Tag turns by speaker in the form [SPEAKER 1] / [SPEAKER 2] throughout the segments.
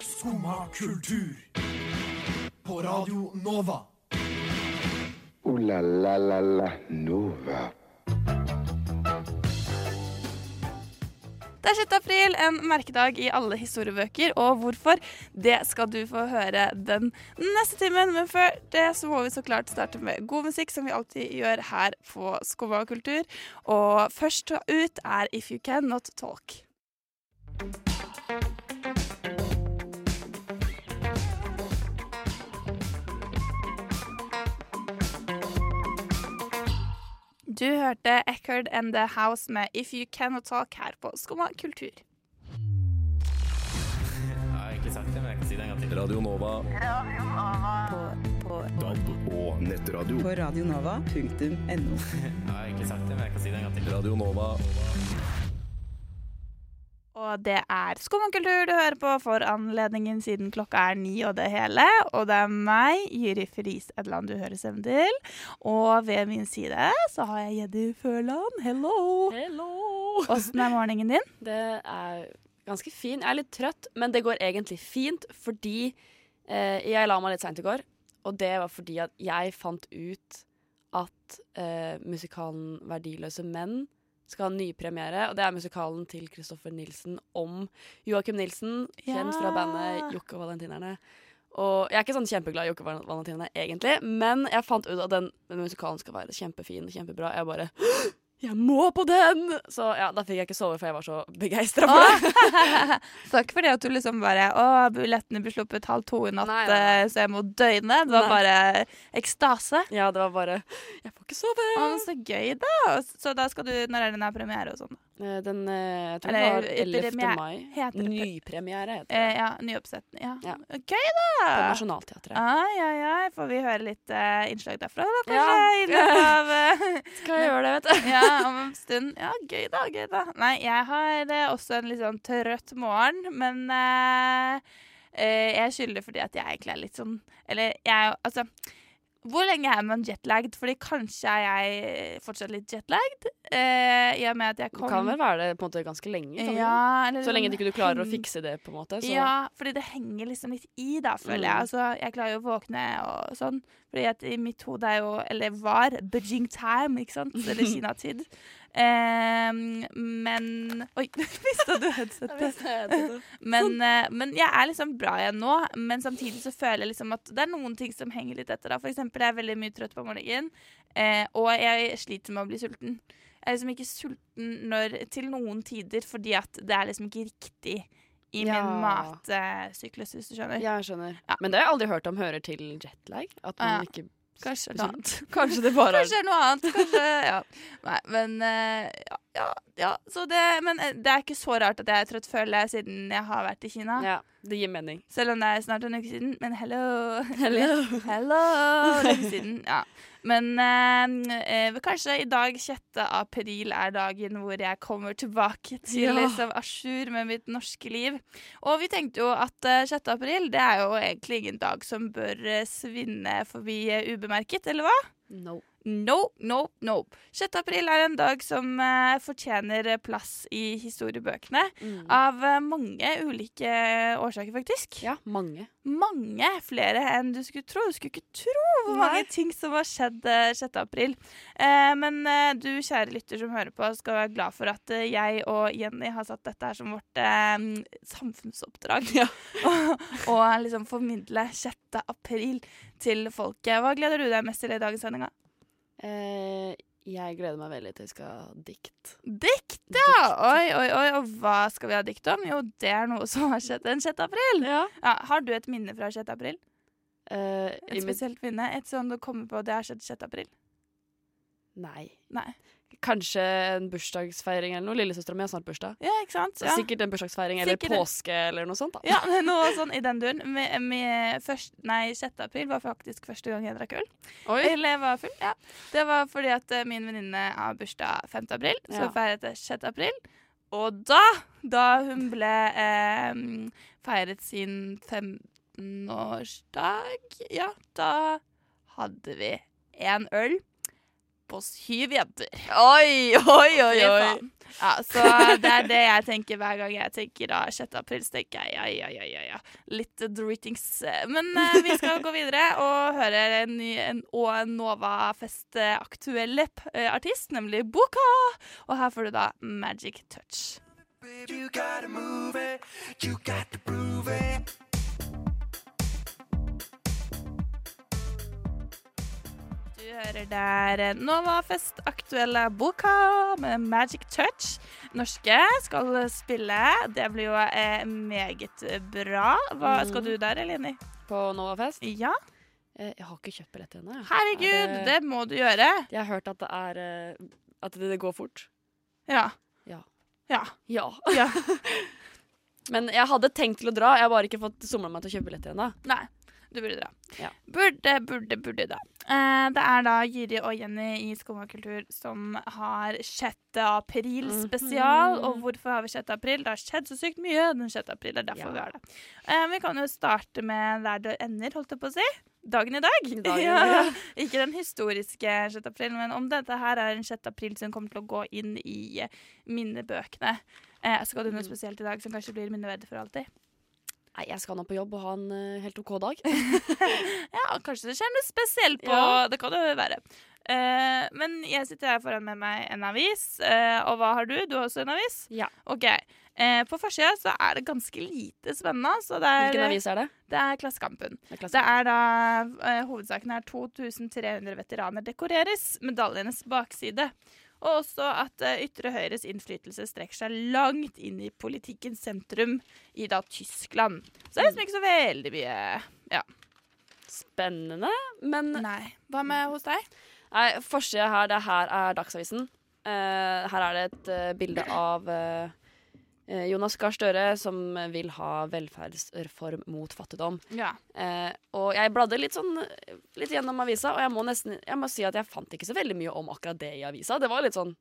[SPEAKER 1] Skumma kultur. På Radio Nova.
[SPEAKER 2] Ooh la la la la Nova.
[SPEAKER 3] Det er 6. april, en merkedag i alle historiebøker, og hvorfor? Det skal du få høre den neste timen, men før det så må vi så klart starte med god musikk, som vi alltid gjør her på Skumma kultur. Og først ut er If You Can Not Talk. Du hørte Eckard and The House med If You Cannot Talk her på Skumma kultur.
[SPEAKER 4] Jeg har egentlig sagt det, men jeg kan si det en gang til. Radio Nova.
[SPEAKER 5] og nettradio.
[SPEAKER 6] på radionova.no.
[SPEAKER 4] Jeg har egentlig sagt det, men jeg kan si det en gang til. Radio Nova.
[SPEAKER 3] Og det er Skumma kultur du hører på for anledningen siden klokka er ni og det hele. Og det er meg, Jyri Friis Edland, du hører stemmen til. Og ved min side så har jeg Jeddi Førland. Hello!
[SPEAKER 7] Hello!
[SPEAKER 3] Åssen er morgenen din?
[SPEAKER 7] Det er ganske fin. Jeg er litt trøtt, men det går egentlig fint fordi eh, jeg la meg litt seint i går. Og det var fordi at jeg fant ut at eh, musikalen 'Verdiløse menn' skal ha nypremiere. Og det er musikalen til Kristoffer Nilsen om Joakim Nilsen, kjent
[SPEAKER 3] Ja.
[SPEAKER 7] fra bandet Jokke og Valentinerne. Og jeg er ikke sånn kjempeglad i Jokke og Valentinerne egentlig, men jeg fant ut at den, den musikalen skal være kjempefin, kjempebra. Jeg bare jeg må på den! Så ja, da fikk jeg ikke sove, for jeg var så begeistra for
[SPEAKER 3] Ah.
[SPEAKER 7] det.
[SPEAKER 3] Åh! Så ikke fordi at du liksom bare Å, billettene blir sluppet halv to i natt,
[SPEAKER 7] Nei, nei, nei.
[SPEAKER 3] eh, så jeg må døgne. Det var
[SPEAKER 7] Nei.
[SPEAKER 3] bare ekstase.
[SPEAKER 7] Ja, det var bare Jeg får ikke sove!
[SPEAKER 3] Å, men så gøy, da! Så da skal du Når er det den er premiere og sånn?
[SPEAKER 7] Eh, Den eh, jeg tror
[SPEAKER 3] Eller,
[SPEAKER 7] det var 11.
[SPEAKER 3] premiere-
[SPEAKER 7] mai.
[SPEAKER 3] Heter det
[SPEAKER 7] Nypremiere heter
[SPEAKER 3] Eh, ah.
[SPEAKER 7] det.
[SPEAKER 3] ja, nyoppsetning. Ja.
[SPEAKER 7] Ja.
[SPEAKER 3] Gøy,
[SPEAKER 7] På
[SPEAKER 3] da!
[SPEAKER 7] Nationaltheatret.
[SPEAKER 3] Ai, ai, ai. Får vi høre litt eh, innslag derfra, da, kanskje?
[SPEAKER 7] Ja.
[SPEAKER 3] I løpet av eh,
[SPEAKER 7] Skal jeg gjøre det, vet du?
[SPEAKER 3] Ja, om en stund. Ja, gøy, da. Gøy, da. Nei, jeg har eh, også en litt sånn trøtt morgen, men eh, eh, jeg skylder fordi at jeg egentlig er litt sånn Eller jeg er jo- Altså hvor lenge er man jetlagd? Fordi kanskje er jeg eh, fortsatt litt jetlagd. Eh, I og med at jeg
[SPEAKER 7] Du
[SPEAKER 3] kom
[SPEAKER 7] kan vel være det på en måte ganske lenge? Kan du ikke?
[SPEAKER 3] ja, eller
[SPEAKER 7] Så lenge
[SPEAKER 3] sånn
[SPEAKER 7] du ikke du klarer å
[SPEAKER 3] heng-
[SPEAKER 7] fikse det, på en måte. Så.
[SPEAKER 3] ja, fordi det henger liksom litt i da, føler jeg.
[SPEAKER 7] Mm.
[SPEAKER 3] Altså, jeg klarer jo å våkne og sånn. Fordi at i mitt hode er jo, eller var, Beijing time, ikke sant? Eller Kina-tid. Em, men Oi, mista du headsetet?
[SPEAKER 7] Sånn.
[SPEAKER 3] Men, eh, men jeg er liksom bra igjen nå. Men samtidig så føler jeg liksom at det er noen ting som henger litt etter. da. For eksempel jeg er veldig mye trøtt på morgenen, eh, og jeg sliter med å bli sulten. Jeg er liksom ikke sulten når, til noen tider, fordi at det er liksom ikke riktig i min
[SPEAKER 7] Ja.
[SPEAKER 3] matsyklus, hvis du skjønner.
[SPEAKER 7] Ja, jeg skjønner.
[SPEAKER 3] Ja. Ah,
[SPEAKER 7] Men det har jeg aldri hørt om hører til jetlag. At man
[SPEAKER 3] Ja.
[SPEAKER 7] ikke
[SPEAKER 3] Kanskje noe
[SPEAKER 7] Eller sånn.
[SPEAKER 3] annet.
[SPEAKER 7] Kanskje det bare er
[SPEAKER 3] Kanskje det er noe annet. Kanskje, ja. Nei, men eh, ja, ja, ja. Så det, men eh, det er ikke så rart at jeg er trøtt, føler jeg, siden jeg har vært i Kina.
[SPEAKER 7] Ja, det gir mening.
[SPEAKER 3] Selv om det er snart en uke siden. Men hello!
[SPEAKER 7] Hello.
[SPEAKER 3] hello! Lenge siden. Ja. Men eh, eh, kanskje i dag, 6. april, er dagen hvor jeg kommer tilbake til
[SPEAKER 7] Ja.
[SPEAKER 3] liksom à jour med mitt norske liv. Og vi tenkte jo at eh, 6. april det er jo egentlig ingen dag som bør eh, svinne forbi eh, ubemerket, eller hva?
[SPEAKER 7] No.
[SPEAKER 3] No, no, no. 6. april er en dag som eh, fortjener eh, plass i historiebøkene.
[SPEAKER 7] Mm.
[SPEAKER 3] Av eh, mange ulike årsaker, faktisk.
[SPEAKER 7] Ja, mange.
[SPEAKER 3] Mange flere enn du skulle tro. Du skulle ikke tro hvor mange ting som har skjedd eh, 6. april. Eh, men eh, du, kjære lytter som hører på, skal være glad for at eh, jeg og Jenny har satt dette her som vårt eh, samfunnsoppdrag.
[SPEAKER 7] Ja.
[SPEAKER 3] og, og liksom formidle 6. april til folket. Hva gleder du deg mest til i dagens sending? da?
[SPEAKER 7] Eh, jeg gleder meg veldig til jeg skal ha dikt.
[SPEAKER 3] Dikt, ja! Oi, oi, oi. Og hva skal vi ha dikt om? Jo, det er noe som har skjedd den 6. april. Ja, har du et minne fra 6. april?
[SPEAKER 7] Eh,
[SPEAKER 3] Et
[SPEAKER 7] i mitt-
[SPEAKER 3] spesielt minne? Et sånn du kommer på det har skjedd 6. april?
[SPEAKER 7] Nei.
[SPEAKER 3] Nei.
[SPEAKER 7] Kanskje en bursdagsfeiring eller noe. Lillesøstera mi har snart bursdag.
[SPEAKER 3] Ja, ikke sant?
[SPEAKER 7] Så
[SPEAKER 3] Ja.
[SPEAKER 7] Sikkert en bursdagsfeiring eller
[SPEAKER 3] Sikkert det.
[SPEAKER 7] påske eller noe sånt. da
[SPEAKER 3] Ja, det er noe sånn i den duren. Med, med først, nei, 6. april var faktisk første gang jeg drakk øl.
[SPEAKER 7] Oi.
[SPEAKER 3] Eller jeg var full, ja. Det var fordi at eh, min venninne har bursdag 5. april, så
[SPEAKER 7] Ja.
[SPEAKER 3] feiret jeg 6. april. Og da, da hun ble eh, feiret sin 15-årsdag, ja, da hadde vi én øl på syv jenter.
[SPEAKER 7] Oi, oi,
[SPEAKER 3] Fy faen. Ja, så det er det jeg tenker hver gang jeg tenker da 6. april. Så tenker jeg ja, ja, ja, ja, ja. Litt dritings. Men eh, vi skal gå videre og høre en ny en, og en Nova-fest-aktuell eh, artist, nemlig Boka. Og her får du da Magic Touch. Du hører der Novafest aktuelle boka med Magic Touch. Norske skal spille. Det blir jo eh, meget bra. Hva skal du der, Eleni?
[SPEAKER 7] på Novafest.
[SPEAKER 3] Ja,
[SPEAKER 7] Eh, Jeg har ikke kjøpt billett ennå. jeg.
[SPEAKER 3] herregud,
[SPEAKER 7] Er
[SPEAKER 3] det må du gjøre.
[SPEAKER 7] Jeg har hørt at det er eh, At det det går fort.
[SPEAKER 3] Ja.
[SPEAKER 7] Ja.
[SPEAKER 3] Ja.
[SPEAKER 7] Ja.
[SPEAKER 3] ja.
[SPEAKER 7] Men jeg hadde tenkt til å dra, jeg har bare ikke fått somla meg til å kjøpe billetter ennå.
[SPEAKER 3] Nei, du burde dra.
[SPEAKER 7] Ja.
[SPEAKER 3] Burde, burde, burde da. Eh, det er da Jyri og Jenny i Skum og kultur som har 6. april
[SPEAKER 7] Mhm.
[SPEAKER 3] spesial. Og hvorfor har vi 6. april? Det har skjedd så sykt mye den 6. april. Det er derfor
[SPEAKER 7] Ja.
[SPEAKER 3] vi har det. Eh, vi kan jo starte med der det ender, holdt jeg på å si. Dagen i dag.
[SPEAKER 7] Dagen i
[SPEAKER 3] ja.
[SPEAKER 7] dag.
[SPEAKER 3] Ikke den historiske 6. april, men om dette her er en 6. april som kommer til å gå inn i eh, minnebøkene. Eh, skal du noe
[SPEAKER 7] Mm.
[SPEAKER 3] spesielt i dag som kanskje blir minneverdig for alltid?
[SPEAKER 7] Nei, jeg skal nå på jobb og ha en eh, helt OK dag.
[SPEAKER 3] Ja, kanskje det skjer noe spesielt på
[SPEAKER 7] Ja.
[SPEAKER 3] Det kan det jo være. Eh, men jeg sitter her foran med meg en avis, eh, og hva har du? Du har også en avis?
[SPEAKER 7] Ja.
[SPEAKER 3] Ok. Eh, på forsida så er det ganske lite spennende. Så det er,
[SPEAKER 7] Hvilken avis er det?
[SPEAKER 3] Det er Klassekampen.
[SPEAKER 7] Det er klasse.
[SPEAKER 3] Det er da eh, Hovedsaken er 2300 veteraner dekoreres. Medaljenes bakside. Og også at eh, ytre høyres innflytelse strekker seg langt inn i politikkens sentrum i da Tyskland. Så det er liksom ikke så veldig mye
[SPEAKER 7] Spennende. Men
[SPEAKER 3] Nei. Hva med hos deg?
[SPEAKER 7] nei, forsida her, det her er Dagsavisen. Eh, her er det et eh, bilde av eh, eh, Jonas Gahr Støre som vil ha velferdsreform mot fattigdom.
[SPEAKER 3] Ja.
[SPEAKER 7] Eh, og jeg bladde litt sånn Litt gjennom avisa, og jeg må nesten Jeg må si at jeg fant ikke så veldig mye om akkurat det i avisa. Det var litt sånn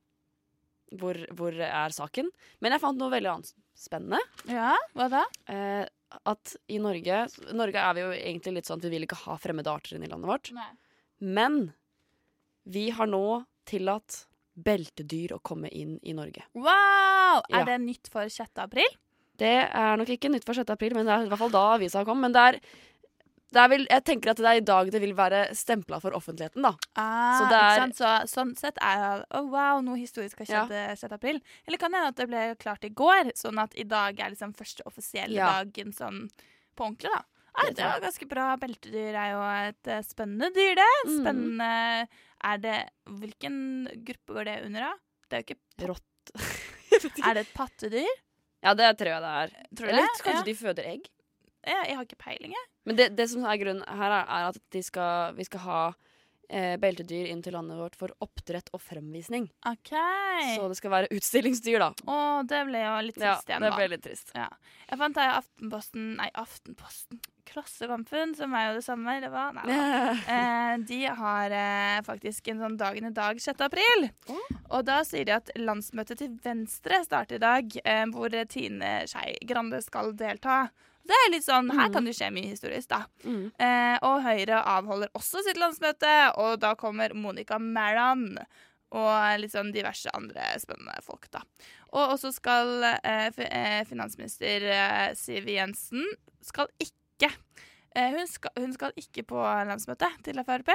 [SPEAKER 7] Hvor, hvor er saken? Men jeg fant noe veldig annet spennende.
[SPEAKER 3] Ja, hva da?
[SPEAKER 7] Eh, at i Norge Norge er vi jo egentlig litt sånn at vi vil ikke ha fremmede arter inn i landet vårt.
[SPEAKER 3] Nei.
[SPEAKER 7] Men vi har nå tillatt beltedyr å komme inn i Norge.
[SPEAKER 3] Wow! Er
[SPEAKER 7] Ja.
[SPEAKER 3] det nytt for 6. april?
[SPEAKER 7] Det er nok ikke nytt for 6. april, men det er i hvert fall da avisa kom. Men det er, det er vel, jeg tenker at det er i dag det vil være stempla for offentligheten, da.
[SPEAKER 3] Ah,
[SPEAKER 7] Så det er-
[SPEAKER 3] ikke sant? Så, sånn sett er det oh, wow, noe historisk har skjedd eh, 6. april. Eller kan det hende at det ble klart i går, sånn at i dag er liksom første offisielle
[SPEAKER 7] Ja.
[SPEAKER 3] dagen sånn på ordentlig, da. Nei,
[SPEAKER 7] Det
[SPEAKER 3] det
[SPEAKER 7] tror
[SPEAKER 3] var ganske bra. Beltedyr er jo et eh, spennende dyr, det.
[SPEAKER 7] Mm.
[SPEAKER 3] Spennende Er det Hvilken gruppe går det under, da? Det er jo ikke
[SPEAKER 7] Rott.
[SPEAKER 3] Er det et pattedyr?
[SPEAKER 7] Mm. Ja, det tror jeg det er.
[SPEAKER 3] Tror du
[SPEAKER 7] Eller
[SPEAKER 3] det?
[SPEAKER 7] kanskje
[SPEAKER 3] ja.
[SPEAKER 7] de føder egg.
[SPEAKER 3] ja, jeg har ikke peiling, jeg.
[SPEAKER 7] Men det, det som er grunnen her, er, er at de skal, vi skal ha eh, beltedyr inn til landet vårt for oppdrett og fremvisning.
[SPEAKER 3] OK.
[SPEAKER 7] Så det skal være utstillingsdyr, da.
[SPEAKER 3] Å, det ble jo litt
[SPEAKER 7] Ja,
[SPEAKER 3] trist igjen,
[SPEAKER 7] det
[SPEAKER 3] da.
[SPEAKER 7] ble litt trist.
[SPEAKER 3] Ja. Jeg fant deg i Aftenposten Nei, Aftenposten Klassekampen, som er jo det samme, eller hva? Nei, da. Eh, de har eh, faktisk en sånn dagen i dag 6. april. Og da sier de at landsmøtet til Venstre starter i dag, eh, hvor Tine Skei Grande skal delta. Det er litt sånn, Her kan det skje mye historisk, da.
[SPEAKER 7] Mm.
[SPEAKER 3] Eh, og Høyre avholder også sitt landsmøte, og da kommer Monica Mæland. Og litt sånn diverse andre spennende folk, da. Og også skal eh, fi- eh, finansminister eh, Siv Jensen skal ikke eh, hun, skal, hun skal ikke på landsmøtet til Frp,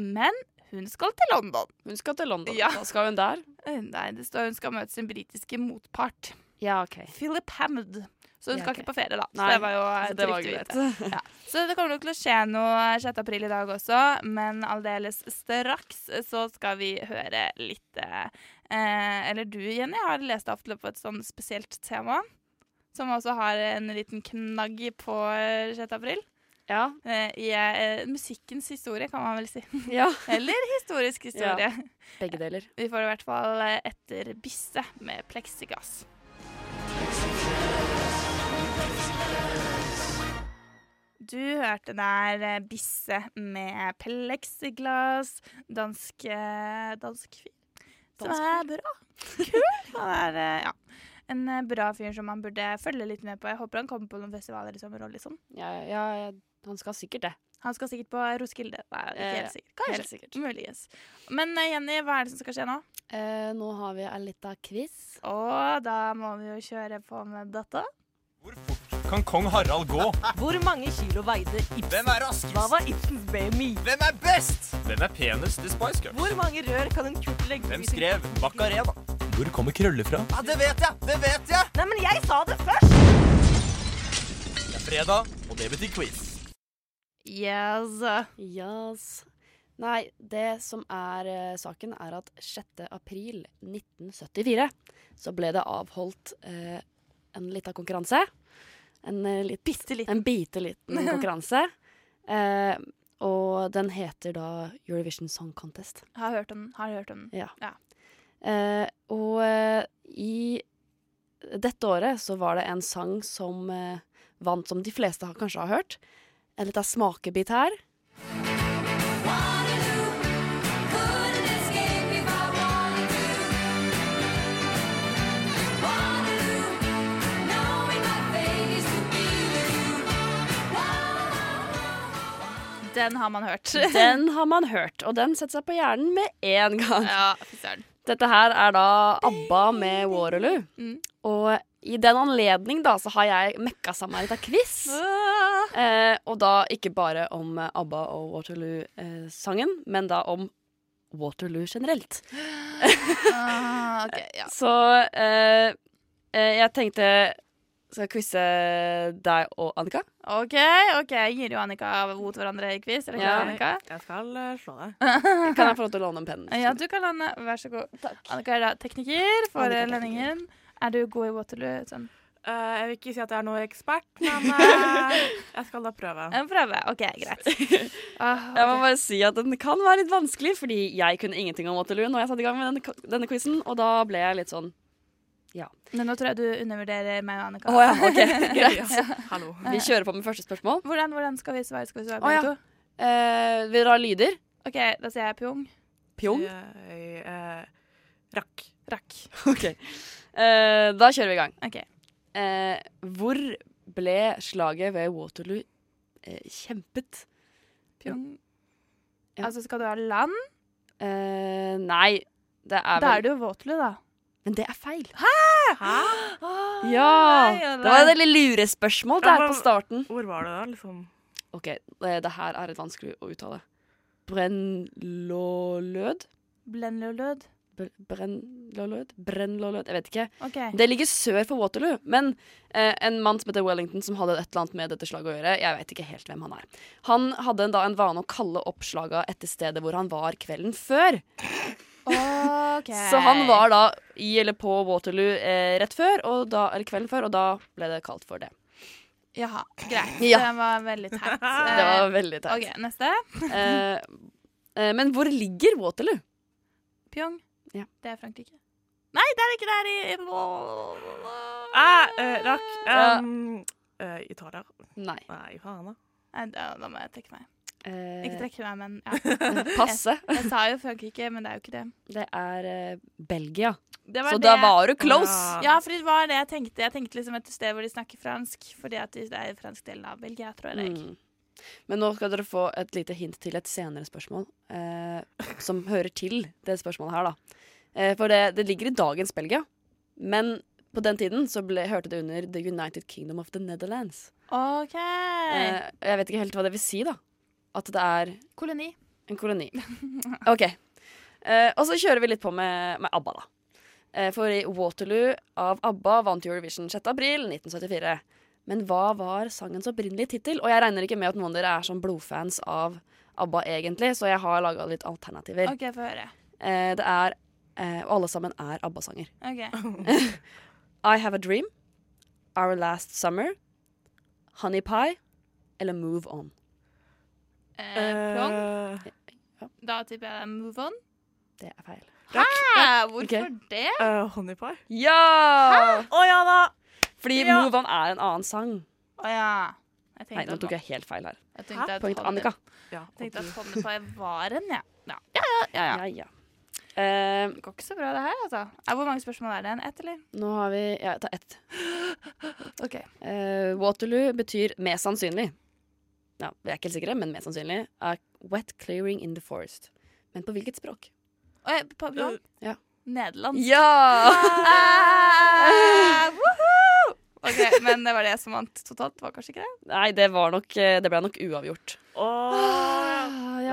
[SPEAKER 3] men hun skal til London.
[SPEAKER 7] Hun skal til London.
[SPEAKER 3] Ja.
[SPEAKER 7] Da skal hun der.
[SPEAKER 3] Eh, Nei, det står hun skal møte sin britiske motpart,
[SPEAKER 7] Ja, OK.
[SPEAKER 3] Philip Hammond. Så hun
[SPEAKER 7] Ja,
[SPEAKER 3] skal
[SPEAKER 7] ok.
[SPEAKER 3] ikke på ferie, da.
[SPEAKER 7] Nei,
[SPEAKER 3] så det var jo eh,
[SPEAKER 7] Så det var
[SPEAKER 3] trygt å vite.
[SPEAKER 7] greit.
[SPEAKER 3] Så det kommer nok til å skje noe 6. april i dag også, men aldeles straks eh, så skal vi høre litt eh, eh, Eller du, Jenny, har lest deg opp til et sånn spesielt tema, som også har en liten knagg på eh, 6. april.
[SPEAKER 7] Ja.
[SPEAKER 3] Eh, I eh, musikkens historie, kan man vel si.
[SPEAKER 7] ja.
[SPEAKER 3] Eller historisk historie.
[SPEAKER 7] Begge deler.
[SPEAKER 3] Vi får det i hvert fall eh, etter Bisse med pleksigass. Du hørte der eh, Bisse med pleksiglass, dansk, eh, dansk fyr. Som
[SPEAKER 7] Dansk
[SPEAKER 3] er bra. Kul! Han er eh, ja, en eh, bra fyr som man burde følge litt med på. Jeg håper han kommer på noen festivaler i sommer og litt sånn.
[SPEAKER 7] Ja, ja, jeg Han skal sikkert det.
[SPEAKER 3] Han skal sikkert på Roskilde. Nei, ikke
[SPEAKER 7] Eh,
[SPEAKER 3] helt sikkert. Kanskje.
[SPEAKER 7] Helt sikkert.
[SPEAKER 3] Muligens. Men eh, Jenny, hva er det som skal skje nå?
[SPEAKER 7] Eh, nå har vi en liten quiz.
[SPEAKER 3] Og da må vi jo kjøre på med dette.
[SPEAKER 8] Kan kong Harald gå?
[SPEAKER 9] Hvor mange kilo veide Ibsen?
[SPEAKER 8] Hvem er raskest?
[SPEAKER 9] Hva var Ibsens BMI?
[SPEAKER 8] Hvem er best? Hvem er penest i Spice Girls?
[SPEAKER 9] Hvor mange rør kan en kurt legge
[SPEAKER 8] Hvem
[SPEAKER 9] i sin-
[SPEAKER 8] skrev Macarena? Hvor kommer krøller fra? Ja, Det vet jeg! Det vet jeg!
[SPEAKER 9] Nei, men jeg sa det først!
[SPEAKER 8] Det er fredag, og det betyr quiz.
[SPEAKER 3] Yes.
[SPEAKER 7] Yes. Nei, det som er eh, saken, er at 6. april 1974 så ble det avholdt eh, en liten konkurranse. En, eh, lit-
[SPEAKER 3] Bitte litt.
[SPEAKER 7] en bitte liten konkurranse. Eh, og den heter da Eurovision Song Contest.
[SPEAKER 3] Har hørt om den. Har hørt om den.
[SPEAKER 7] Eh, og eh, i dette året så var det en sang som eh, vant, som de fleste har, kanskje har hørt. En liten smakebit her.
[SPEAKER 3] Den har man hørt.
[SPEAKER 7] Den har man hørt, og den setter seg på hjernen med en gang.
[SPEAKER 3] ja, fy søren.
[SPEAKER 7] Dette her er da ABBA med Waterloo.
[SPEAKER 3] Mm.
[SPEAKER 7] Og i den anledning da, så har jeg mekka sammen en liten quiz.
[SPEAKER 3] Ah.
[SPEAKER 7] Eh, og da ikke bare om eh, ABBA og Waterloo-sangen, men da om Waterloo generelt.
[SPEAKER 3] Ah, ok, ja.
[SPEAKER 7] Så eh, eh, jeg tenkte Skal jeg quize deg og Annika?
[SPEAKER 3] OK, ok, Giri og Annika mot hverandre i quiz. Er det
[SPEAKER 7] Ja.
[SPEAKER 3] klart, Annika?
[SPEAKER 9] Jeg skal eh, slå deg.
[SPEAKER 7] Kan jeg få lov til å låne en penn?
[SPEAKER 3] Ja, du kan lande. Vær så god. Annika er da tekniker for
[SPEAKER 7] Annika er
[SPEAKER 3] lønningen. Er du god i Waterloo? Sånn.
[SPEAKER 9] Eh, jeg vil ikke si at jeg er noe ekspert, men eh, jeg skal da prøve.
[SPEAKER 3] En prøve. OK, greit. Ah,
[SPEAKER 7] Jeg må
[SPEAKER 3] ok.
[SPEAKER 7] bare si at den kan være litt vanskelig, fordi jeg kunne ingenting om Waterloo når jeg satte i gang med denne, denne quizen, og da ble jeg litt sånn
[SPEAKER 3] Men nå tror jeg du undervurderer meg og Annika.
[SPEAKER 7] Å ja, OK, greit.
[SPEAKER 9] Hallo.
[SPEAKER 7] Vi kjører på med første spørsmål.
[SPEAKER 3] Hvordan, hvordan skal vi svare? Skal vi svare
[SPEAKER 7] Å, ja.
[SPEAKER 3] begge to?
[SPEAKER 7] Eh, vil dere ha lyder?
[SPEAKER 3] OK, da sier jeg pjong.
[SPEAKER 7] Pjong?
[SPEAKER 9] Eh, eh, rakk.
[SPEAKER 3] Rakk.
[SPEAKER 7] OK. Eh, da kjører vi i gang.
[SPEAKER 3] Ok.
[SPEAKER 7] Eh, hvor ble slaget ved Waterloo eh, kjempet?
[SPEAKER 3] Pjong.
[SPEAKER 7] Ja.
[SPEAKER 3] Altså, skal du ha land?
[SPEAKER 7] Eh, nei, det er
[SPEAKER 3] Da
[SPEAKER 7] vel
[SPEAKER 3] er det jo Waterloo, da.
[SPEAKER 7] Men det er feil.
[SPEAKER 9] Hæ?
[SPEAKER 7] Ja!
[SPEAKER 3] nei, ja,
[SPEAKER 7] Det var et veldig lure spørsmål
[SPEAKER 9] Ja,
[SPEAKER 7] der
[SPEAKER 9] men-
[SPEAKER 7] på starten.
[SPEAKER 9] Hvor var det da, liksom?
[SPEAKER 7] OK, eh, det her er et vanskelig å uttale. Brennlålød?
[SPEAKER 3] Blenlulud.
[SPEAKER 7] Br- Brennlålød? Brennlålød, jeg vet ikke.
[SPEAKER 3] OK.
[SPEAKER 7] Det ligger sør for Waterloo, men eh, en mann som heter Wellington, som hadde et eller annet med dette slaget å gjøre, jeg vet ikke helt hvem han er. Han hadde en, da en vane å kalle opp slaga etter stedet hvor han var kvelden før.
[SPEAKER 3] Ok.
[SPEAKER 7] Så han var da i eller på Waterloo eh, rett før, og da, eller kvelden før, og da ble det kalt for det.
[SPEAKER 3] Jaha, greit.
[SPEAKER 7] Ja.
[SPEAKER 3] Det var veldig teit.
[SPEAKER 7] Det var veldig
[SPEAKER 3] Eh,
[SPEAKER 7] teit.
[SPEAKER 3] OK, neste.
[SPEAKER 7] Eh, eh, men hvor ligger Waterloo?
[SPEAKER 3] Pjong.
[SPEAKER 7] Ja.
[SPEAKER 3] Det er Frankrike. Nei, det er ikke der i
[SPEAKER 9] Eh, eh, rakk.
[SPEAKER 7] Ja.
[SPEAKER 9] Um, eh, Italia.
[SPEAKER 7] Nei.
[SPEAKER 9] Nei, faen da.
[SPEAKER 3] Nei, da, da må jeg trekke meg. Ikke
[SPEAKER 7] Eh,
[SPEAKER 3] trekke meg, men ja.
[SPEAKER 7] passe.
[SPEAKER 3] Jeg sa jo Frankrike, men det er jo ikke det.
[SPEAKER 7] Det er eh, Belgia.
[SPEAKER 3] det var
[SPEAKER 7] Så
[SPEAKER 3] det.
[SPEAKER 7] da var du close.
[SPEAKER 9] Ja.
[SPEAKER 3] Ja, for det var det jeg tenkte. Jeg tenkte liksom et sted hvor de snakker fransk, fordi at det er franskdelen av Belgia, tror jeg.
[SPEAKER 7] Mm. Men nå skal dere få et lite hint til et senere spørsmål, eh, som hører til det spørsmålet her, da. Eh, for det, det ligger i dagens Belgia, men på den tiden så ble, hørte det under The United Kingdom of the Netherlands.
[SPEAKER 3] OK.
[SPEAKER 7] Mm. Eh, jeg vet ikke helt hva det vil si, da. At det er
[SPEAKER 3] Koloni.
[SPEAKER 7] en koloni. OK. Eh, og så kjører vi litt på med, med ABBA, da. Eh, for i Waterloo av ABBA vant Eurovision 6. april 1974. Men hva var sangens opprinnelige tittel? Og jeg regner ikke med at noen av dere er sånn blodfans av ABBA egentlig, så jeg har laga litt alternativer.
[SPEAKER 3] OK, få høre.
[SPEAKER 7] Eh, det er eh, Og alle sammen er ABBA-sanger.
[SPEAKER 3] OK.
[SPEAKER 7] I Have A Dream, Our Last Summer, Honey Pie eller Move On.
[SPEAKER 3] Eh, plong.
[SPEAKER 9] Eh,
[SPEAKER 3] Da tipper jeg move on.
[SPEAKER 7] Det er feil.
[SPEAKER 3] Hæ, hvorfor
[SPEAKER 7] Ok.
[SPEAKER 3] det?
[SPEAKER 9] eh, honey pie.
[SPEAKER 7] Ja!
[SPEAKER 9] Å ja da!
[SPEAKER 7] Fordi
[SPEAKER 9] Ja.
[SPEAKER 7] Move On er en annen sang.
[SPEAKER 3] Å ja. Jeg
[SPEAKER 7] Nei,
[SPEAKER 3] tenkte
[SPEAKER 7] nå
[SPEAKER 3] at-
[SPEAKER 7] tok jeg helt feil her.
[SPEAKER 3] jeg tenkte at
[SPEAKER 7] Poeng til
[SPEAKER 3] Honey-
[SPEAKER 7] Annika.
[SPEAKER 9] Ja,
[SPEAKER 3] Jeg tenkte
[SPEAKER 9] og
[SPEAKER 3] at
[SPEAKER 9] du-
[SPEAKER 3] Honey Pie var en, ja. Ja, ja, ja. ja, ja.
[SPEAKER 7] Ja, ja. Eh,
[SPEAKER 3] Det går ikke så bra, det her. altså. Eh, Hvor mange spørsmål er det? En Ett, eller?
[SPEAKER 7] nå har vi Ja, ta ett.
[SPEAKER 3] Ok.
[SPEAKER 7] Eh, Waterloo betyr mest sannsynlig. ja, vi er ikke helt sikre, men mest sannsynlig, er Wet Clearing in the Forest. Men på hvilket språk?
[SPEAKER 3] Og jeg, pardon?
[SPEAKER 7] Ja.
[SPEAKER 3] Nederland.
[SPEAKER 7] Ja!
[SPEAKER 3] Ah, woohoo! OK, men det var det som vant totalt. Var kanskje ikke det?
[SPEAKER 7] Nei, det, var nok, eh, det ble nok uavgjort.
[SPEAKER 9] Åh,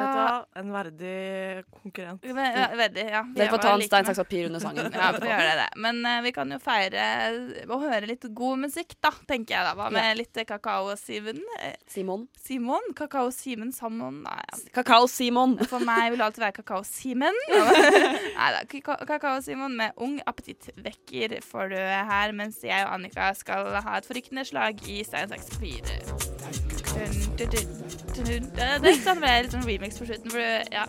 [SPEAKER 9] Vet du
[SPEAKER 3] ja.
[SPEAKER 9] hva? En verdig konkurrent.
[SPEAKER 3] Men, ja, veldig, ja. Vi
[SPEAKER 7] Dere får
[SPEAKER 3] var
[SPEAKER 7] ta en
[SPEAKER 3] like
[SPEAKER 7] stein,
[SPEAKER 3] med.
[SPEAKER 7] saks, papir under sangen.
[SPEAKER 3] Ja, vi får gjøre det. Men eh, vi kan jo feire eh, og høre litt god musikk, da, tenker jeg da. Hva med litt kakao-Simen? Eh,
[SPEAKER 7] Simon.
[SPEAKER 3] Simon? Kakao-Simen sammen? Nei, ja.
[SPEAKER 7] Kakao-Simon.
[SPEAKER 3] For meg vil det alltid være kakao-Simen. Nei da. Kakao-Simon med Ung appetittvekker får du her, mens jeg og Annika skal ha et forrykkende slag i Stein, saks, papir. Dun, dun, dun, dun, dun. Det er ikke sant, men det er litt sånn remix på slutten. For du, ja.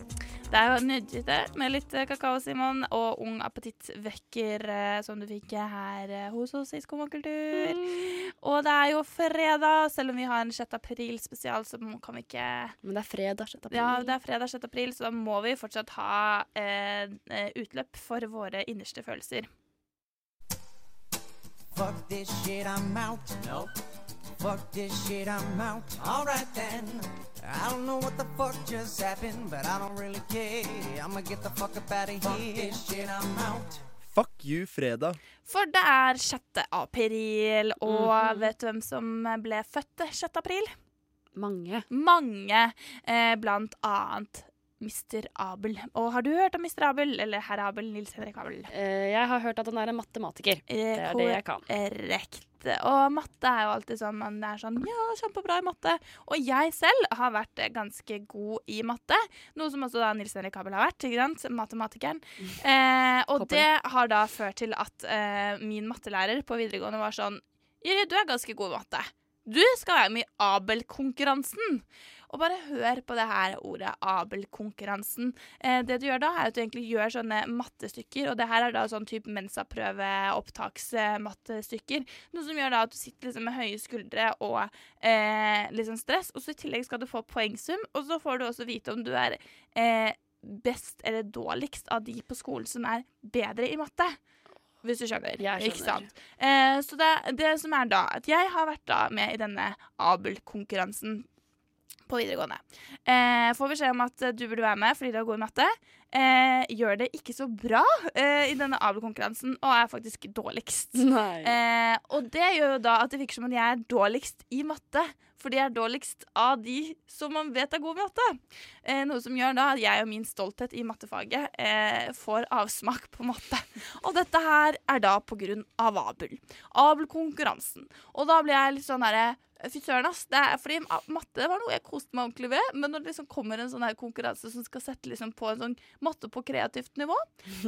[SPEAKER 3] Det er jo nydete med litt eh, kakao, Simon, og ung appetittvekker eh, som du fikk eh, her eh, hos oss i Skomakultur. Og det er jo fredag, selv om vi har en 6. april spesial, så må- kan vi ikke
[SPEAKER 7] Men det er fredag. sjette april.
[SPEAKER 3] Ja, det er fredag 6. april, så da må vi fortsatt ha eh, eh, utløp for våre innerste følelser.
[SPEAKER 10] Fuck this shit, I'm out. Nope. Fuck this shit, I'm out. Alright then. I don't know what the fuck just happened, but I don't really care. I'ma get the fuck up out of here. Fuck this shit, I'm out.
[SPEAKER 11] Fuck you, fredag.
[SPEAKER 3] For det er 6. april, og
[SPEAKER 7] Mhm.
[SPEAKER 3] vet du hvem som ble født 6. april?
[SPEAKER 7] Mange.
[SPEAKER 3] mange, eh, blant annet Mr. Abel. Og har du hørt om Mr. Abel, eller herr Abel, Nils Henrik Abel?
[SPEAKER 7] Eh, jeg har hørt at han er en matematiker.
[SPEAKER 3] Eh,
[SPEAKER 7] Det er det jeg kan.
[SPEAKER 3] Korrekt. Og matte er jo alltid sånn man er sånn Ja, kjempebra i matte. Og jeg selv har vært eh, ganske god i matte. Noe som også da Nils Henrik Abel har vært. ikke sant? Matematikeren. Eh, og
[SPEAKER 7] Håper
[SPEAKER 3] det har da ført til at eh, min mattelærer på videregående var sånn Jyri, du er ganske god i matte. Du skal være med i Abel-konkurransen. Og bare hør på det her ordet Abel-konkurransen. Eh, det du gjør da, er at du egentlig gjør sånne mattestykker, og det her er da sånn type mensaprøve-opptaksmattestykker. Noe som gjør da at du sitter liksom med høye skuldre og eh, liksom stress, og så i tillegg skal du få poengsum, og så får du også vite om du er eh, best eller dårligst av de på skolen som er bedre i matte. Hvis du skjønner.
[SPEAKER 7] Jeg skjønner.
[SPEAKER 3] Ikke sant? Eh, så det, det som er da, at jeg har vært da med i denne Abel-konkurransen på videregående. Eh, får beskjed om at eh, du burde være med fordi du er god i matte. Eh, gjør det ikke så bra eh, i denne Abel-konkurransen, og er faktisk dårligst.
[SPEAKER 7] Nei.
[SPEAKER 3] Eh, og det gjør jo da at det virker som at jeg er dårligst i matte. Fordi jeg er dårligst av de som man vet er gode i matte. Eh, noe som gjør da at jeg og min stolthet i mattefaget eh, får avsmak på matte. Og dette her er da på grunn av Abel. Abel-konkurransen. Og da blir jeg litt sånn herre Fy søren, ass. Det er fordi ah, matte var noe jeg koste meg ordentlig ved. Men når det liksom kommer en sånn her konkurranse som skal sette liksom på en sånn matte på kreativt nivå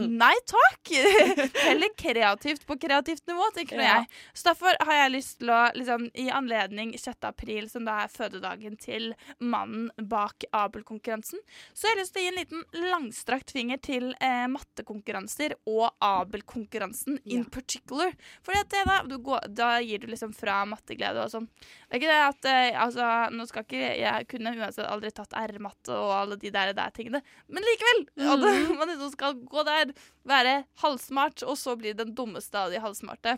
[SPEAKER 3] Nei takk! Heller kreativt på kreativt nivå, tenker nå
[SPEAKER 7] Ja.
[SPEAKER 3] jeg. Så derfor har jeg lyst til å, liksom, i anledning 6. april, som da er fødedagen til mannen bak Abel-konkurransen, så har jeg lyst til å gi en liten langstrakt finger til eh, mattekonkurranser og Abel-konkurransen in particular. For det, da, du går, da gir du liksom fra matteglede og sånn. Det er ikke det at eh, altså, Nå skal ikke jeg kunne uansett aldri tatt R-matte og alle de der, der tingene, men likevel! At man liksom skal gå der, være halvsmart, og så bli den dummeste av de halvsmarte.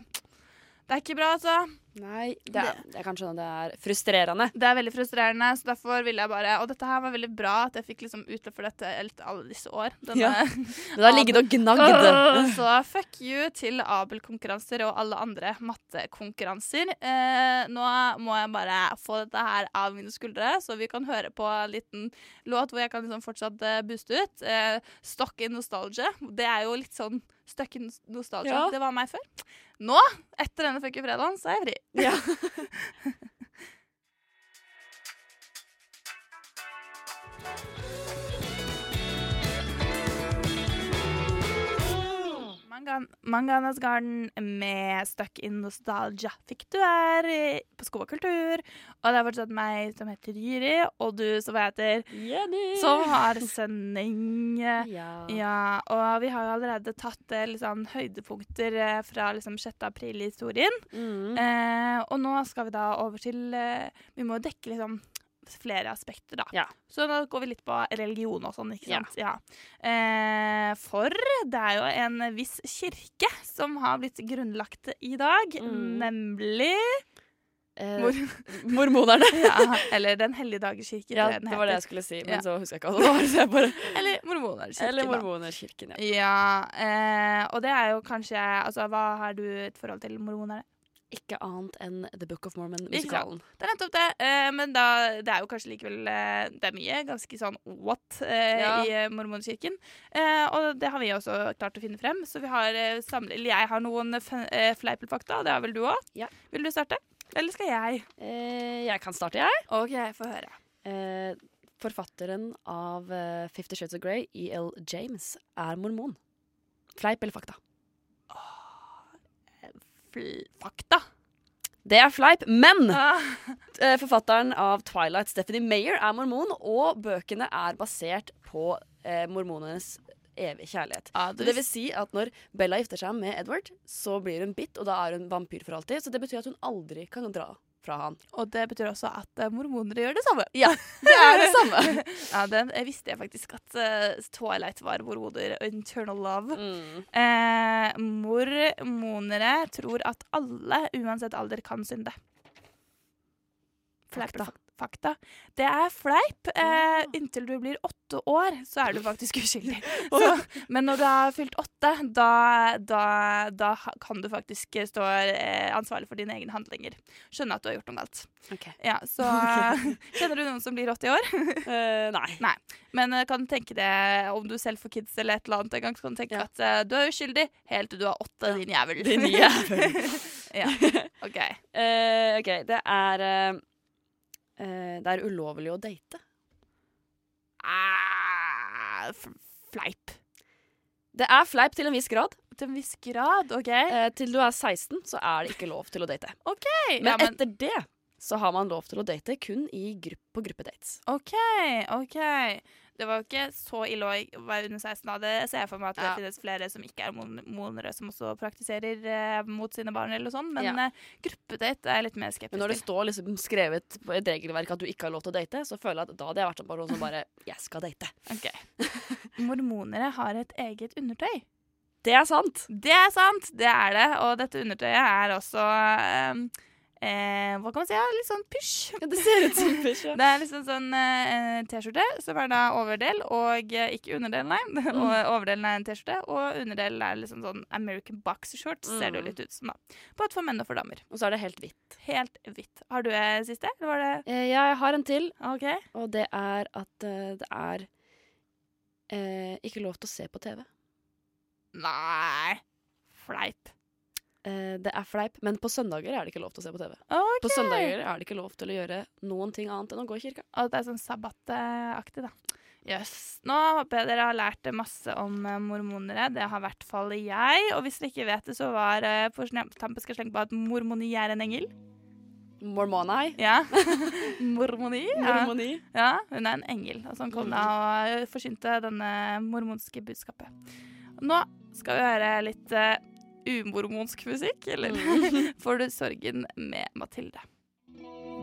[SPEAKER 3] Det er ikke bra, altså.
[SPEAKER 7] Nei det er, jeg kan skjønne det er frustrerende.
[SPEAKER 3] Det er veldig frustrerende, så derfor ville jeg bare Og dette her var veldig bra at jeg fikk liksom utløp for dette helt alle disse år. Denne,
[SPEAKER 7] Ja. Men det har ligget og gnagd.
[SPEAKER 3] Åh, Så fuck you til Abel-konkurranser og alle andre mattekonkurranser. Eh, nå må jeg bare få dette her av mine skuldre, så vi kan høre på en liten låt hvor jeg kan liksom fortsatt eh, booste ut. Eh, Stock in nostalgia. Det er jo litt sånn stuck in nostalgia.
[SPEAKER 7] Ja.
[SPEAKER 3] Det var meg før. Nå, etter denne fucking fredagen, så er jeg fri.
[SPEAKER 7] Ja.
[SPEAKER 3] Mangan, Manganas Garden med Stuck in Nostalgia fikk du her i- på Sko og kultur. Og det er fortsatt meg som heter Jyri, og du som jeg heter, som har sending.
[SPEAKER 7] Sånn. Ja.
[SPEAKER 3] Ja, og vi har jo allerede tatt eh, litt sånn høydepunkter eh, fra liksom 6. april-historien.
[SPEAKER 7] Mm.
[SPEAKER 3] Eh, og nå skal vi da over til eh, Vi må jo dekke liksom flere aspekter, da.
[SPEAKER 7] Ja.
[SPEAKER 3] Så da går vi litt på religion og sånn, ikke sant. Ja. Eh, for det er jo en viss kirke som har blitt grunnlagt i dag,
[SPEAKER 7] Mm.
[SPEAKER 3] nemlig
[SPEAKER 7] eh,
[SPEAKER 3] Mor
[SPEAKER 7] mormonerne.
[SPEAKER 3] ja, eller Den hellige dagers kirke.
[SPEAKER 7] Ja,
[SPEAKER 3] tror jeg den
[SPEAKER 7] det var det
[SPEAKER 3] heter.
[SPEAKER 7] jeg skulle si,
[SPEAKER 3] Ja.
[SPEAKER 7] men så husker jeg ikke hva det var. Så jeg bare,
[SPEAKER 3] Eller mormonerkirken.
[SPEAKER 7] eller
[SPEAKER 3] da.
[SPEAKER 7] mormonerkirken, ja.
[SPEAKER 3] Ja, eh, og det er jo kanskje altså, Hva har du et forhold til mormonere?
[SPEAKER 7] Ikke annet enn The Book of
[SPEAKER 3] Ikke sant.
[SPEAKER 7] Mormon-musikalen.
[SPEAKER 3] Det er nettopp det, eh, men da, det er jo kanskje likevel eh, Det er mye ganske sånn what eh,
[SPEAKER 7] Ja.
[SPEAKER 3] i eh, mormonkirken. Eh, og det har vi også klart å finne frem, så vi har eh, samlet Eller jeg har noen fø- eh, fleipelfakta, og det har vel du òg?
[SPEAKER 7] Ja.
[SPEAKER 3] Vil du starte? Eller skal jeg?
[SPEAKER 7] Eh, jeg kan starte, jeg.
[SPEAKER 3] OK, få høre.
[SPEAKER 7] Eh, forfatteren av eh, Fifty Shades of Grey, E.L. James, er mormon. Fleip eller fakta?
[SPEAKER 3] Fakta.
[SPEAKER 7] Det er fleip, men
[SPEAKER 3] Ah.
[SPEAKER 7] eh, forfatteren av Twilight, Stephanie Mayer, er mormon, og bøkene er basert på eh, mormonenes evige kjærlighet.
[SPEAKER 3] Ja,
[SPEAKER 7] Så Det vil si at når Bella gifter seg med Edward, så blir hun bitt, og da er hun vampyr for alltid. Så det betyr at hun aldri kan dra fra han.
[SPEAKER 3] Og det betyr også at eh, mormonere gjør det samme.
[SPEAKER 7] Ja, det er det samme.
[SPEAKER 3] Ja, den jeg visste jeg faktisk at eh, Twilight var mormoner. Internal love.
[SPEAKER 7] Mm.
[SPEAKER 3] Eh, mormonere tror at alle, uansett alder, kan synde. Fleip eller fak- Fakta. Det er fleip. Eh, inntil du blir åtte år, så er du faktisk uskyldig. Så, men når du har fylt åtte, da, da, da ha- kan du faktisk stå eh, ansvarlig for dine egne handlinger. Skjønne at du har gjort noe galt.
[SPEAKER 7] Ok.
[SPEAKER 3] Ja, så Kjenner du noen som blir 80 år?
[SPEAKER 7] Eh, nei.
[SPEAKER 3] Men eh, kan du tenke det om du selv får kids eller et eller annet en gang, så kan du tenke
[SPEAKER 7] Ja.
[SPEAKER 3] at eh, du er uskyldig helt til du er åtte, din jævel.
[SPEAKER 7] Din jævel.
[SPEAKER 3] ja, ok.
[SPEAKER 7] Eh, OK, det er eh, eh, Det er ulovlig å date.
[SPEAKER 3] Ah, f- fleip.
[SPEAKER 7] Det er fleip til en viss grad.
[SPEAKER 3] Til en viss grad, OK.
[SPEAKER 7] Eh, til du er 16, så er det ikke lov til å date.
[SPEAKER 3] Hei,
[SPEAKER 7] Men,
[SPEAKER 3] ja, men,
[SPEAKER 7] etter det så har man lov til å date kun i grupp på gruppedates.
[SPEAKER 3] OK, OK. Det var jo ikke så ille å være under 16 av det. Jeg ser for meg at det
[SPEAKER 7] Ja.
[SPEAKER 3] finnes flere som ikke er mon- monere, som også praktiserer eh, mot sine barn eller noe sånt, men
[SPEAKER 7] Ja.
[SPEAKER 3] eh, gruppedate er jeg litt mer
[SPEAKER 7] Men
[SPEAKER 3] skeptisk
[SPEAKER 7] når det
[SPEAKER 3] til.
[SPEAKER 7] står liksom skrevet på et regelverk at du ikke har lov til å date, så føler jeg at da hadde jeg vært en person som bare Jeg skal date.
[SPEAKER 3] Ok. Mormonere har et eget undertøy.
[SPEAKER 7] Det er sant.
[SPEAKER 3] Det er sant, det er det. Og dette undertøyet er også eh, eh, Hva kan man si? Ja, litt sånn pysj.
[SPEAKER 7] Ja, det ser ut som pysj.
[SPEAKER 3] Det er liksom sånn eh, T-skjorte, som er da overdel, og eh, ikke underdel, nei.
[SPEAKER 7] Mm.
[SPEAKER 3] Og overdelen er en T-skjorte, og underdelen er liksom sånn American boxer shorts, ser det jo
[SPEAKER 7] Mm.
[SPEAKER 3] litt ut som, da. Både for menn og for damer.
[SPEAKER 7] Og så er det helt hvitt.
[SPEAKER 3] Helt hvitt. Har du eh, siste, eller var det
[SPEAKER 7] Eh, jeg har en til,
[SPEAKER 3] OK?
[SPEAKER 7] og det er at eh, det er eh, ikke lov til å se på TV.
[SPEAKER 3] Nei. Fleip.
[SPEAKER 7] Eh, det er fleip, men på søndager er det ikke lov til å se på TV.
[SPEAKER 3] OK.
[SPEAKER 7] På søndager er det ikke lov til å gjøre noen ting annet enn å gå i kirka.
[SPEAKER 3] Og at det er sånn sabbataktig, da. Jøss. Nå håper jeg dere har lært masse om eh, mormonere. Det har i hvert fall jeg. Og hvis dere ikke vet det, så var eh, på sne- tampen skal jeg slenge på at mormoni er en engel.
[SPEAKER 7] Mormonai.
[SPEAKER 3] Ja. mormoni. Ja.
[SPEAKER 7] Mormoni.
[SPEAKER 3] ja, hun er en engel. Og sånn kom det og eh, forsynte denne mormonske budskapet. Nå skal vi høre litt eh, umormonsk musikk, eller får du sorgen med Mathilde.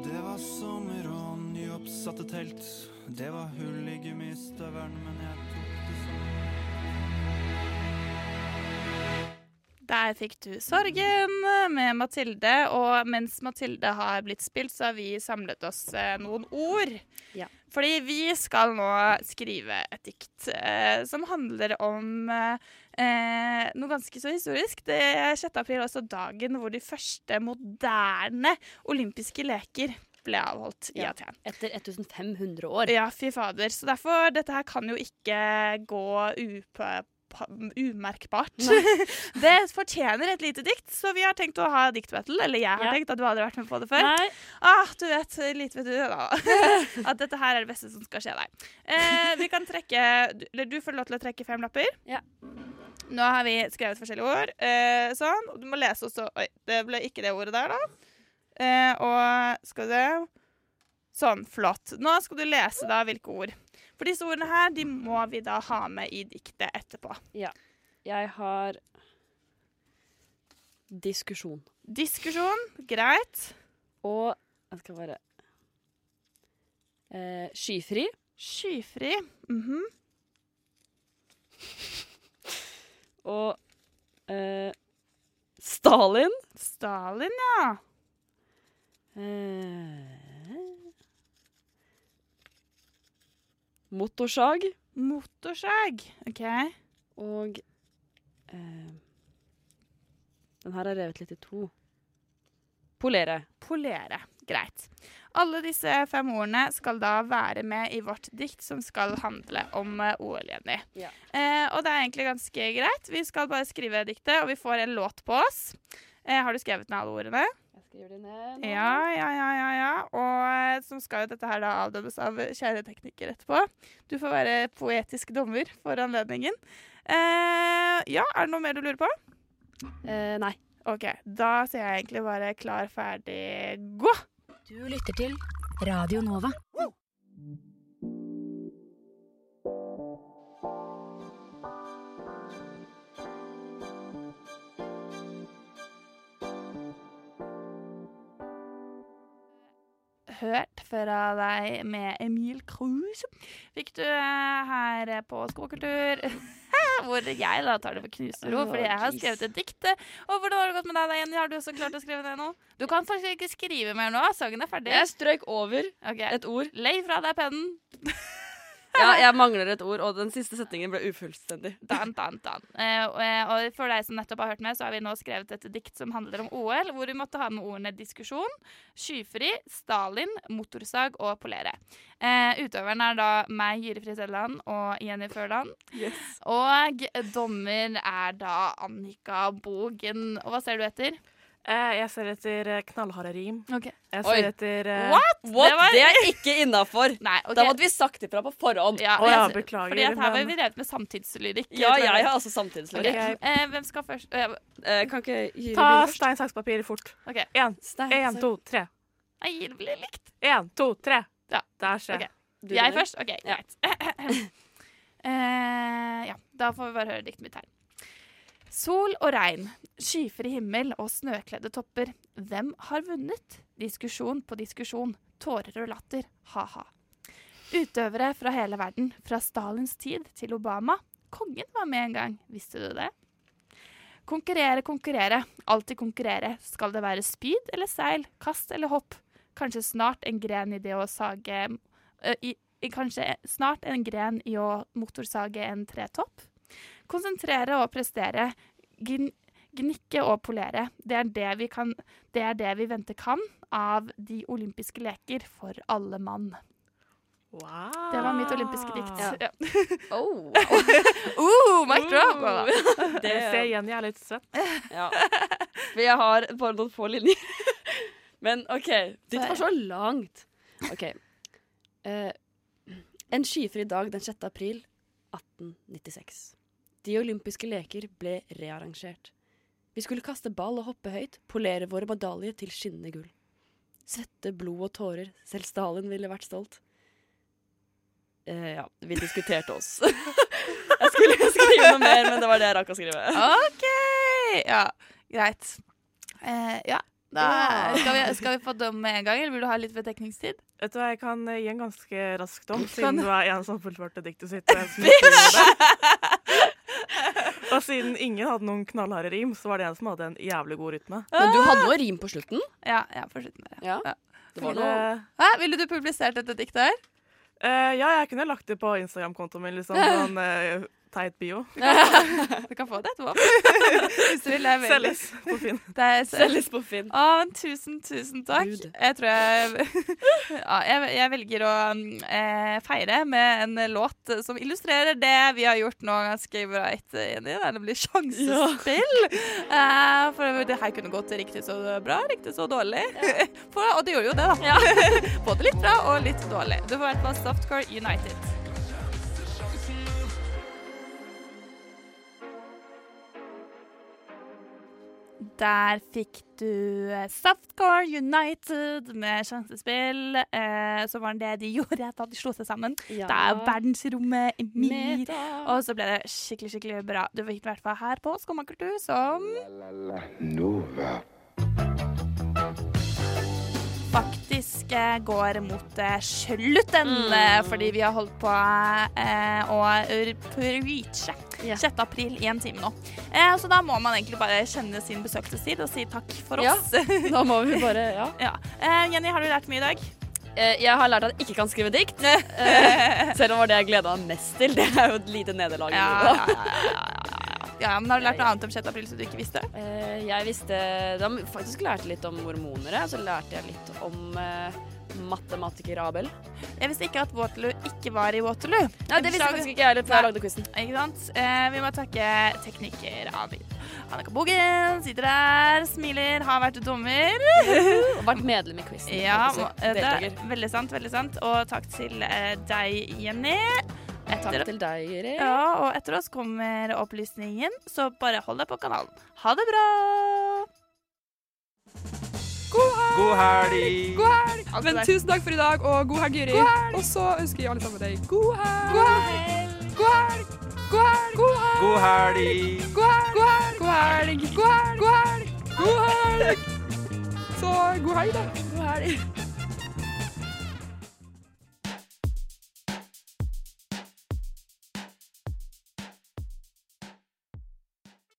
[SPEAKER 1] Det var sommer og nyoppsatte telt. Det var hull i gummistøvelen, men jeg tok det sånn.
[SPEAKER 3] Der fikk du Sorgen med Mathilde, og mens Mathilde har blitt spilt, så har vi samlet oss eh, noen ord.
[SPEAKER 7] Ja.
[SPEAKER 3] Fordi vi skal nå skrive et dikt eh, som handler om eh, eh, noe ganske så historisk. Det er 6. april, altså dagen hvor de første moderne olympiske leker ble avholdt i
[SPEAKER 7] Ja.
[SPEAKER 3] Aten.
[SPEAKER 7] Etter 1500 år.
[SPEAKER 3] Ja, fy fader. Så derfor, dette her kan jo ikke gå upø- pa- umerkbart. det fortjener et lite dikt, så vi har tenkt å ha diktbattle. Eller jeg har
[SPEAKER 7] Ja.
[SPEAKER 3] tenkt at du aldri har vært med på det før. Ah, du vet, lite vet du da, at dette her er det beste som skal skje deg. Eh, vi kan trekke du- Eller du får lov til å trekke fem lapper.
[SPEAKER 7] Ja.
[SPEAKER 3] Nå har vi skrevet forskjellige ord. Eh, sånn. Og du må lese også Oi, det ble ikke det ordet der, da. Eh, og skal vi se Sånn, flott. Nå skal du lese da hvilke ord. For disse ordene her, de må vi da ha med i diktet etterpå.
[SPEAKER 7] Jeg har diskusjon.
[SPEAKER 3] Diskusjon, greit.
[SPEAKER 7] Og jeg skal bare eh, Skyfri.
[SPEAKER 3] Skyfri. Mhm.
[SPEAKER 7] Og eh, Stalin.
[SPEAKER 3] Stalin,
[SPEAKER 7] Eh, motorsag
[SPEAKER 3] Motorsag. OK.
[SPEAKER 7] og eh, Den her er revet litt i to. Polere.
[SPEAKER 3] Polere. Greit. Alle disse fem ordene skal da være med i vårt dikt som skal handle om eh, OL, Jenny.
[SPEAKER 7] Ja.
[SPEAKER 3] Eh, og det er egentlig ganske greit. Vi skal bare skrive diktet, og vi får en låt på oss. Eh, har du skrevet ned alle ordene?
[SPEAKER 7] Jeg skriver de ned. nå.
[SPEAKER 3] Ja, ja, ja, ja, ja. Og eh, som skal jo dette her da avdømmes av eh, kjære tekniker etterpå. Du får være poetisk dommer for anledningen. Eh, ja, er det noe mer du lurer på?
[SPEAKER 7] Eh, nei.
[SPEAKER 3] OK, da sier jeg egentlig bare klar, ferdig, gå!
[SPEAKER 11] Du lytter til Radio Nova.
[SPEAKER 3] Hørt fra deg med Emil Kruse fikk du eh, her eh, på Skokultur. Hvor jeg da tar det på knusende ro,
[SPEAKER 7] Åh,
[SPEAKER 3] fordi jeg har
[SPEAKER 7] jeez.
[SPEAKER 3] skrevet et dikt. eh. Og hvordan har det gått med deg da, Jenny? Har du også klart å skrive ned noe? Du kan faktisk ikke skrive mer nå. Sangen er ferdig.
[SPEAKER 7] Jeg strøk over
[SPEAKER 3] Ok.
[SPEAKER 7] et ord.
[SPEAKER 3] Legg fra deg pennen.
[SPEAKER 7] Ja, jeg mangler et ord, og den siste setningen ble ufullstendig.
[SPEAKER 3] Dan, dan, dan. Eh, og- eh, og for deg som nettopp har hørt med, så har vi nå skrevet et dikt som handler om OL, hvor vi måtte ha med ordene diskusjon, skyfri, Stalin, motorsag og polere. Eh, utøveren er da meg, Gyri Friis Edland, og Jenny Førland. Og dommer er da Annika Bogen. Og hva ser du etter?
[SPEAKER 9] Eh, jeg ser etter eh, knallharde rim.
[SPEAKER 3] Ok.
[SPEAKER 9] Jeg
[SPEAKER 7] Oi.
[SPEAKER 9] ser etter eh,
[SPEAKER 3] What?
[SPEAKER 7] What?
[SPEAKER 3] Det var-
[SPEAKER 7] Det er ikke innafor!
[SPEAKER 3] Nei, ok.
[SPEAKER 7] Da måtte vi sagt ifra på forhånd.
[SPEAKER 3] ja,
[SPEAKER 9] Å ja,
[SPEAKER 3] jeg-
[SPEAKER 9] beklager,
[SPEAKER 3] Fordi at her var
[SPEAKER 9] men-
[SPEAKER 3] vi drevet med samtidslyrikk.
[SPEAKER 7] Ja,
[SPEAKER 3] tror
[SPEAKER 7] jeg har altså samtidslogikk.
[SPEAKER 9] Ok.
[SPEAKER 3] Eh, hvem skal først? Eh,
[SPEAKER 7] Eh, kan ikke Gyri
[SPEAKER 9] Ta
[SPEAKER 7] begynne først?
[SPEAKER 9] stein, saks, papir fort.
[SPEAKER 3] OK.
[SPEAKER 9] Én,
[SPEAKER 7] Stein,
[SPEAKER 9] én,
[SPEAKER 7] saks.
[SPEAKER 9] to, tre.
[SPEAKER 3] Nei, det blir likt.
[SPEAKER 9] Én, to, tre.
[SPEAKER 3] Ja.
[SPEAKER 9] Der skjer
[SPEAKER 3] Ok.
[SPEAKER 9] det.
[SPEAKER 7] Du
[SPEAKER 3] jeg
[SPEAKER 7] begynner.
[SPEAKER 3] først? OK, greit. Eh, ja, da får vi bare høre diktet mitt her. Sol og regn, skyfri himmel og snøkledde topper. Hvem har vunnet? Diskusjon på diskusjon, tårer og latter, ha-ha. Utøvere fra hele verden, fra Stalins tid til Obama. Kongen var med en gang, visste du det? Konkurrere, konkurrere, alltid konkurrere. Skal det være spyd eller seil, kast eller hopp? Kanskje snart en gren i det å sage eh, i, i kanskje snart en gren i å motorsage en tretopp. Konsentrere og prestere, gn gnikke og polere. Det er det, vi kan, det er det vi venter kan av de olympiske leker for alle mann.
[SPEAKER 9] Wow.
[SPEAKER 3] Det var mitt olympiske dikt.
[SPEAKER 9] Ja.
[SPEAKER 3] Ah. Ja.
[SPEAKER 7] Oh,
[SPEAKER 3] Uh, mic drop!
[SPEAKER 7] wow. Det,
[SPEAKER 9] Jeg ser Jenny er litt svett.
[SPEAKER 7] ja. For jeg har bare noen få linjer. Men OK. Ditt var så langt. OK. Eh, en skyfri dag den 6. april 1896. De olympiske leker ble rearrangert. Vi skulle kaste ball og hoppe høyt, polere våre medaljer til skinnende gull. Svette, blod og tårer. Selv Stalin ville vært stolt. Eh, ja, vi diskuterte oss. jeg skulle skrive noe mer, men det var det jeg rakk å skrive.
[SPEAKER 3] Uh. OK! Ja, greit. Eh, ja. Da
[SPEAKER 9] Ja.
[SPEAKER 3] skal, vi, skal vi få dømme med en gang, eller vil du ha litt betenkningstid?
[SPEAKER 9] Vet du hva, Jeg kan eh, gi en ganske rask dom,
[SPEAKER 3] Kan-
[SPEAKER 9] siden du er en som fullførte diktet sitt. Og, en som ikke gjorde det. og siden ingen hadde noen knallharde rim, så var det en som hadde en jævlig god rytme.
[SPEAKER 7] Men du hadde noe rim på slutten?
[SPEAKER 3] Ja, ja, fortsett med det.
[SPEAKER 7] Ah! Ja. Det var noe
[SPEAKER 9] Eh,
[SPEAKER 3] Hæ, ville du publisert dette diktet her?
[SPEAKER 9] eh, ja, jeg kunne lagt det på Instagram-kontoen min, liksom. Sånn eh, teit bio.
[SPEAKER 3] Du kan få det etterpå. Hvis du vil. Det er veldig-
[SPEAKER 9] Selges på Finn.
[SPEAKER 3] Det er selv.
[SPEAKER 7] Selges på Finn.
[SPEAKER 3] Å, men tusen, tusen takk.
[SPEAKER 7] Gud.
[SPEAKER 3] Jeg tror jeg ja, jeg, jeg velger å mm, eh, feire med en låt som illustrerer det vi har gjort nå ganske greit, Jenny. Det er nemlig sjansespill. Eh, for det her kunne gått riktig så bra, riktig så dårlig. For, og det gjorde jo det, da. Både litt bra og litt dårlig. Du får i hvert fall Softcore United. Der fikk du eh, Softcore United med sjansespill. Eh, så var det det de gjorde da de slo seg sammen.
[SPEAKER 7] Ja.
[SPEAKER 3] Det er verdensrommet Emir.
[SPEAKER 7] Meta.
[SPEAKER 3] Og så ble det skikkelig skikkelig bra. Du fikk det i hvert fall her på Skummakultur som
[SPEAKER 2] Nova.
[SPEAKER 3] faktisk eh, går mot eh,
[SPEAKER 7] Mm.
[SPEAKER 3] slutten. eh, Fordi vi har holdt på eh, å r- preache
[SPEAKER 7] Ja.
[SPEAKER 3] 6. april i en time nå. Eh, så da må man egentlig bare kjenne sin besøkelsestid og si takk for
[SPEAKER 7] Ja,
[SPEAKER 3] oss.
[SPEAKER 7] da må vi bare Ja.
[SPEAKER 3] Eh, Jenny, har du lært mye i dag?
[SPEAKER 7] Eh, Jeg har lært at jeg ikke kan skrive dikt. Eh, Selv om det var det jeg gleda meg mest til. Det er jo et lite nederlag. i
[SPEAKER 3] Ja,
[SPEAKER 7] livet, da.
[SPEAKER 3] Ja, men Har du lært noe annet om 6. april som du ikke visste?
[SPEAKER 7] Eh, Jeg visste Da faktisk lærte jeg litt om mormonere. og Så lærte jeg litt om eh, matematiker Abel.
[SPEAKER 3] Jeg visste ikke at Waterloo ikke var i Waterloo.
[SPEAKER 7] Nei, det visste
[SPEAKER 3] Beklager.
[SPEAKER 7] faktisk ikke jeg heller før jeg lagde quizen.
[SPEAKER 3] Ikke sant? Eh, vi må takke tekniker Abid. Annika Bogen sitter der, smiler, har vært dommer.
[SPEAKER 7] Og vært medlem i quizen.
[SPEAKER 3] Ja,
[SPEAKER 7] holdt jeg på å si.
[SPEAKER 3] eh, det er
[SPEAKER 7] Deltaker.
[SPEAKER 3] veldig sant, veldig sant. Og takk til eh, deg, Jenny.
[SPEAKER 7] Takk til deg, Juri.
[SPEAKER 3] Ja, og etter oss kommer opplysningen, så bare hold deg på kanalen. Ha det bra!
[SPEAKER 12] God helg!
[SPEAKER 13] God helg!
[SPEAKER 3] Alt
[SPEAKER 13] Men
[SPEAKER 3] det der.
[SPEAKER 13] tusen takk for i dag, og Altså, god helg, Juri. Og så ønsker vi alle sammen deg god helg! God helg! God helg! God helg! God helg!
[SPEAKER 12] God helg!
[SPEAKER 13] God helg! God helg! God helg! God helg! God helg! Så god helg, da. God helg.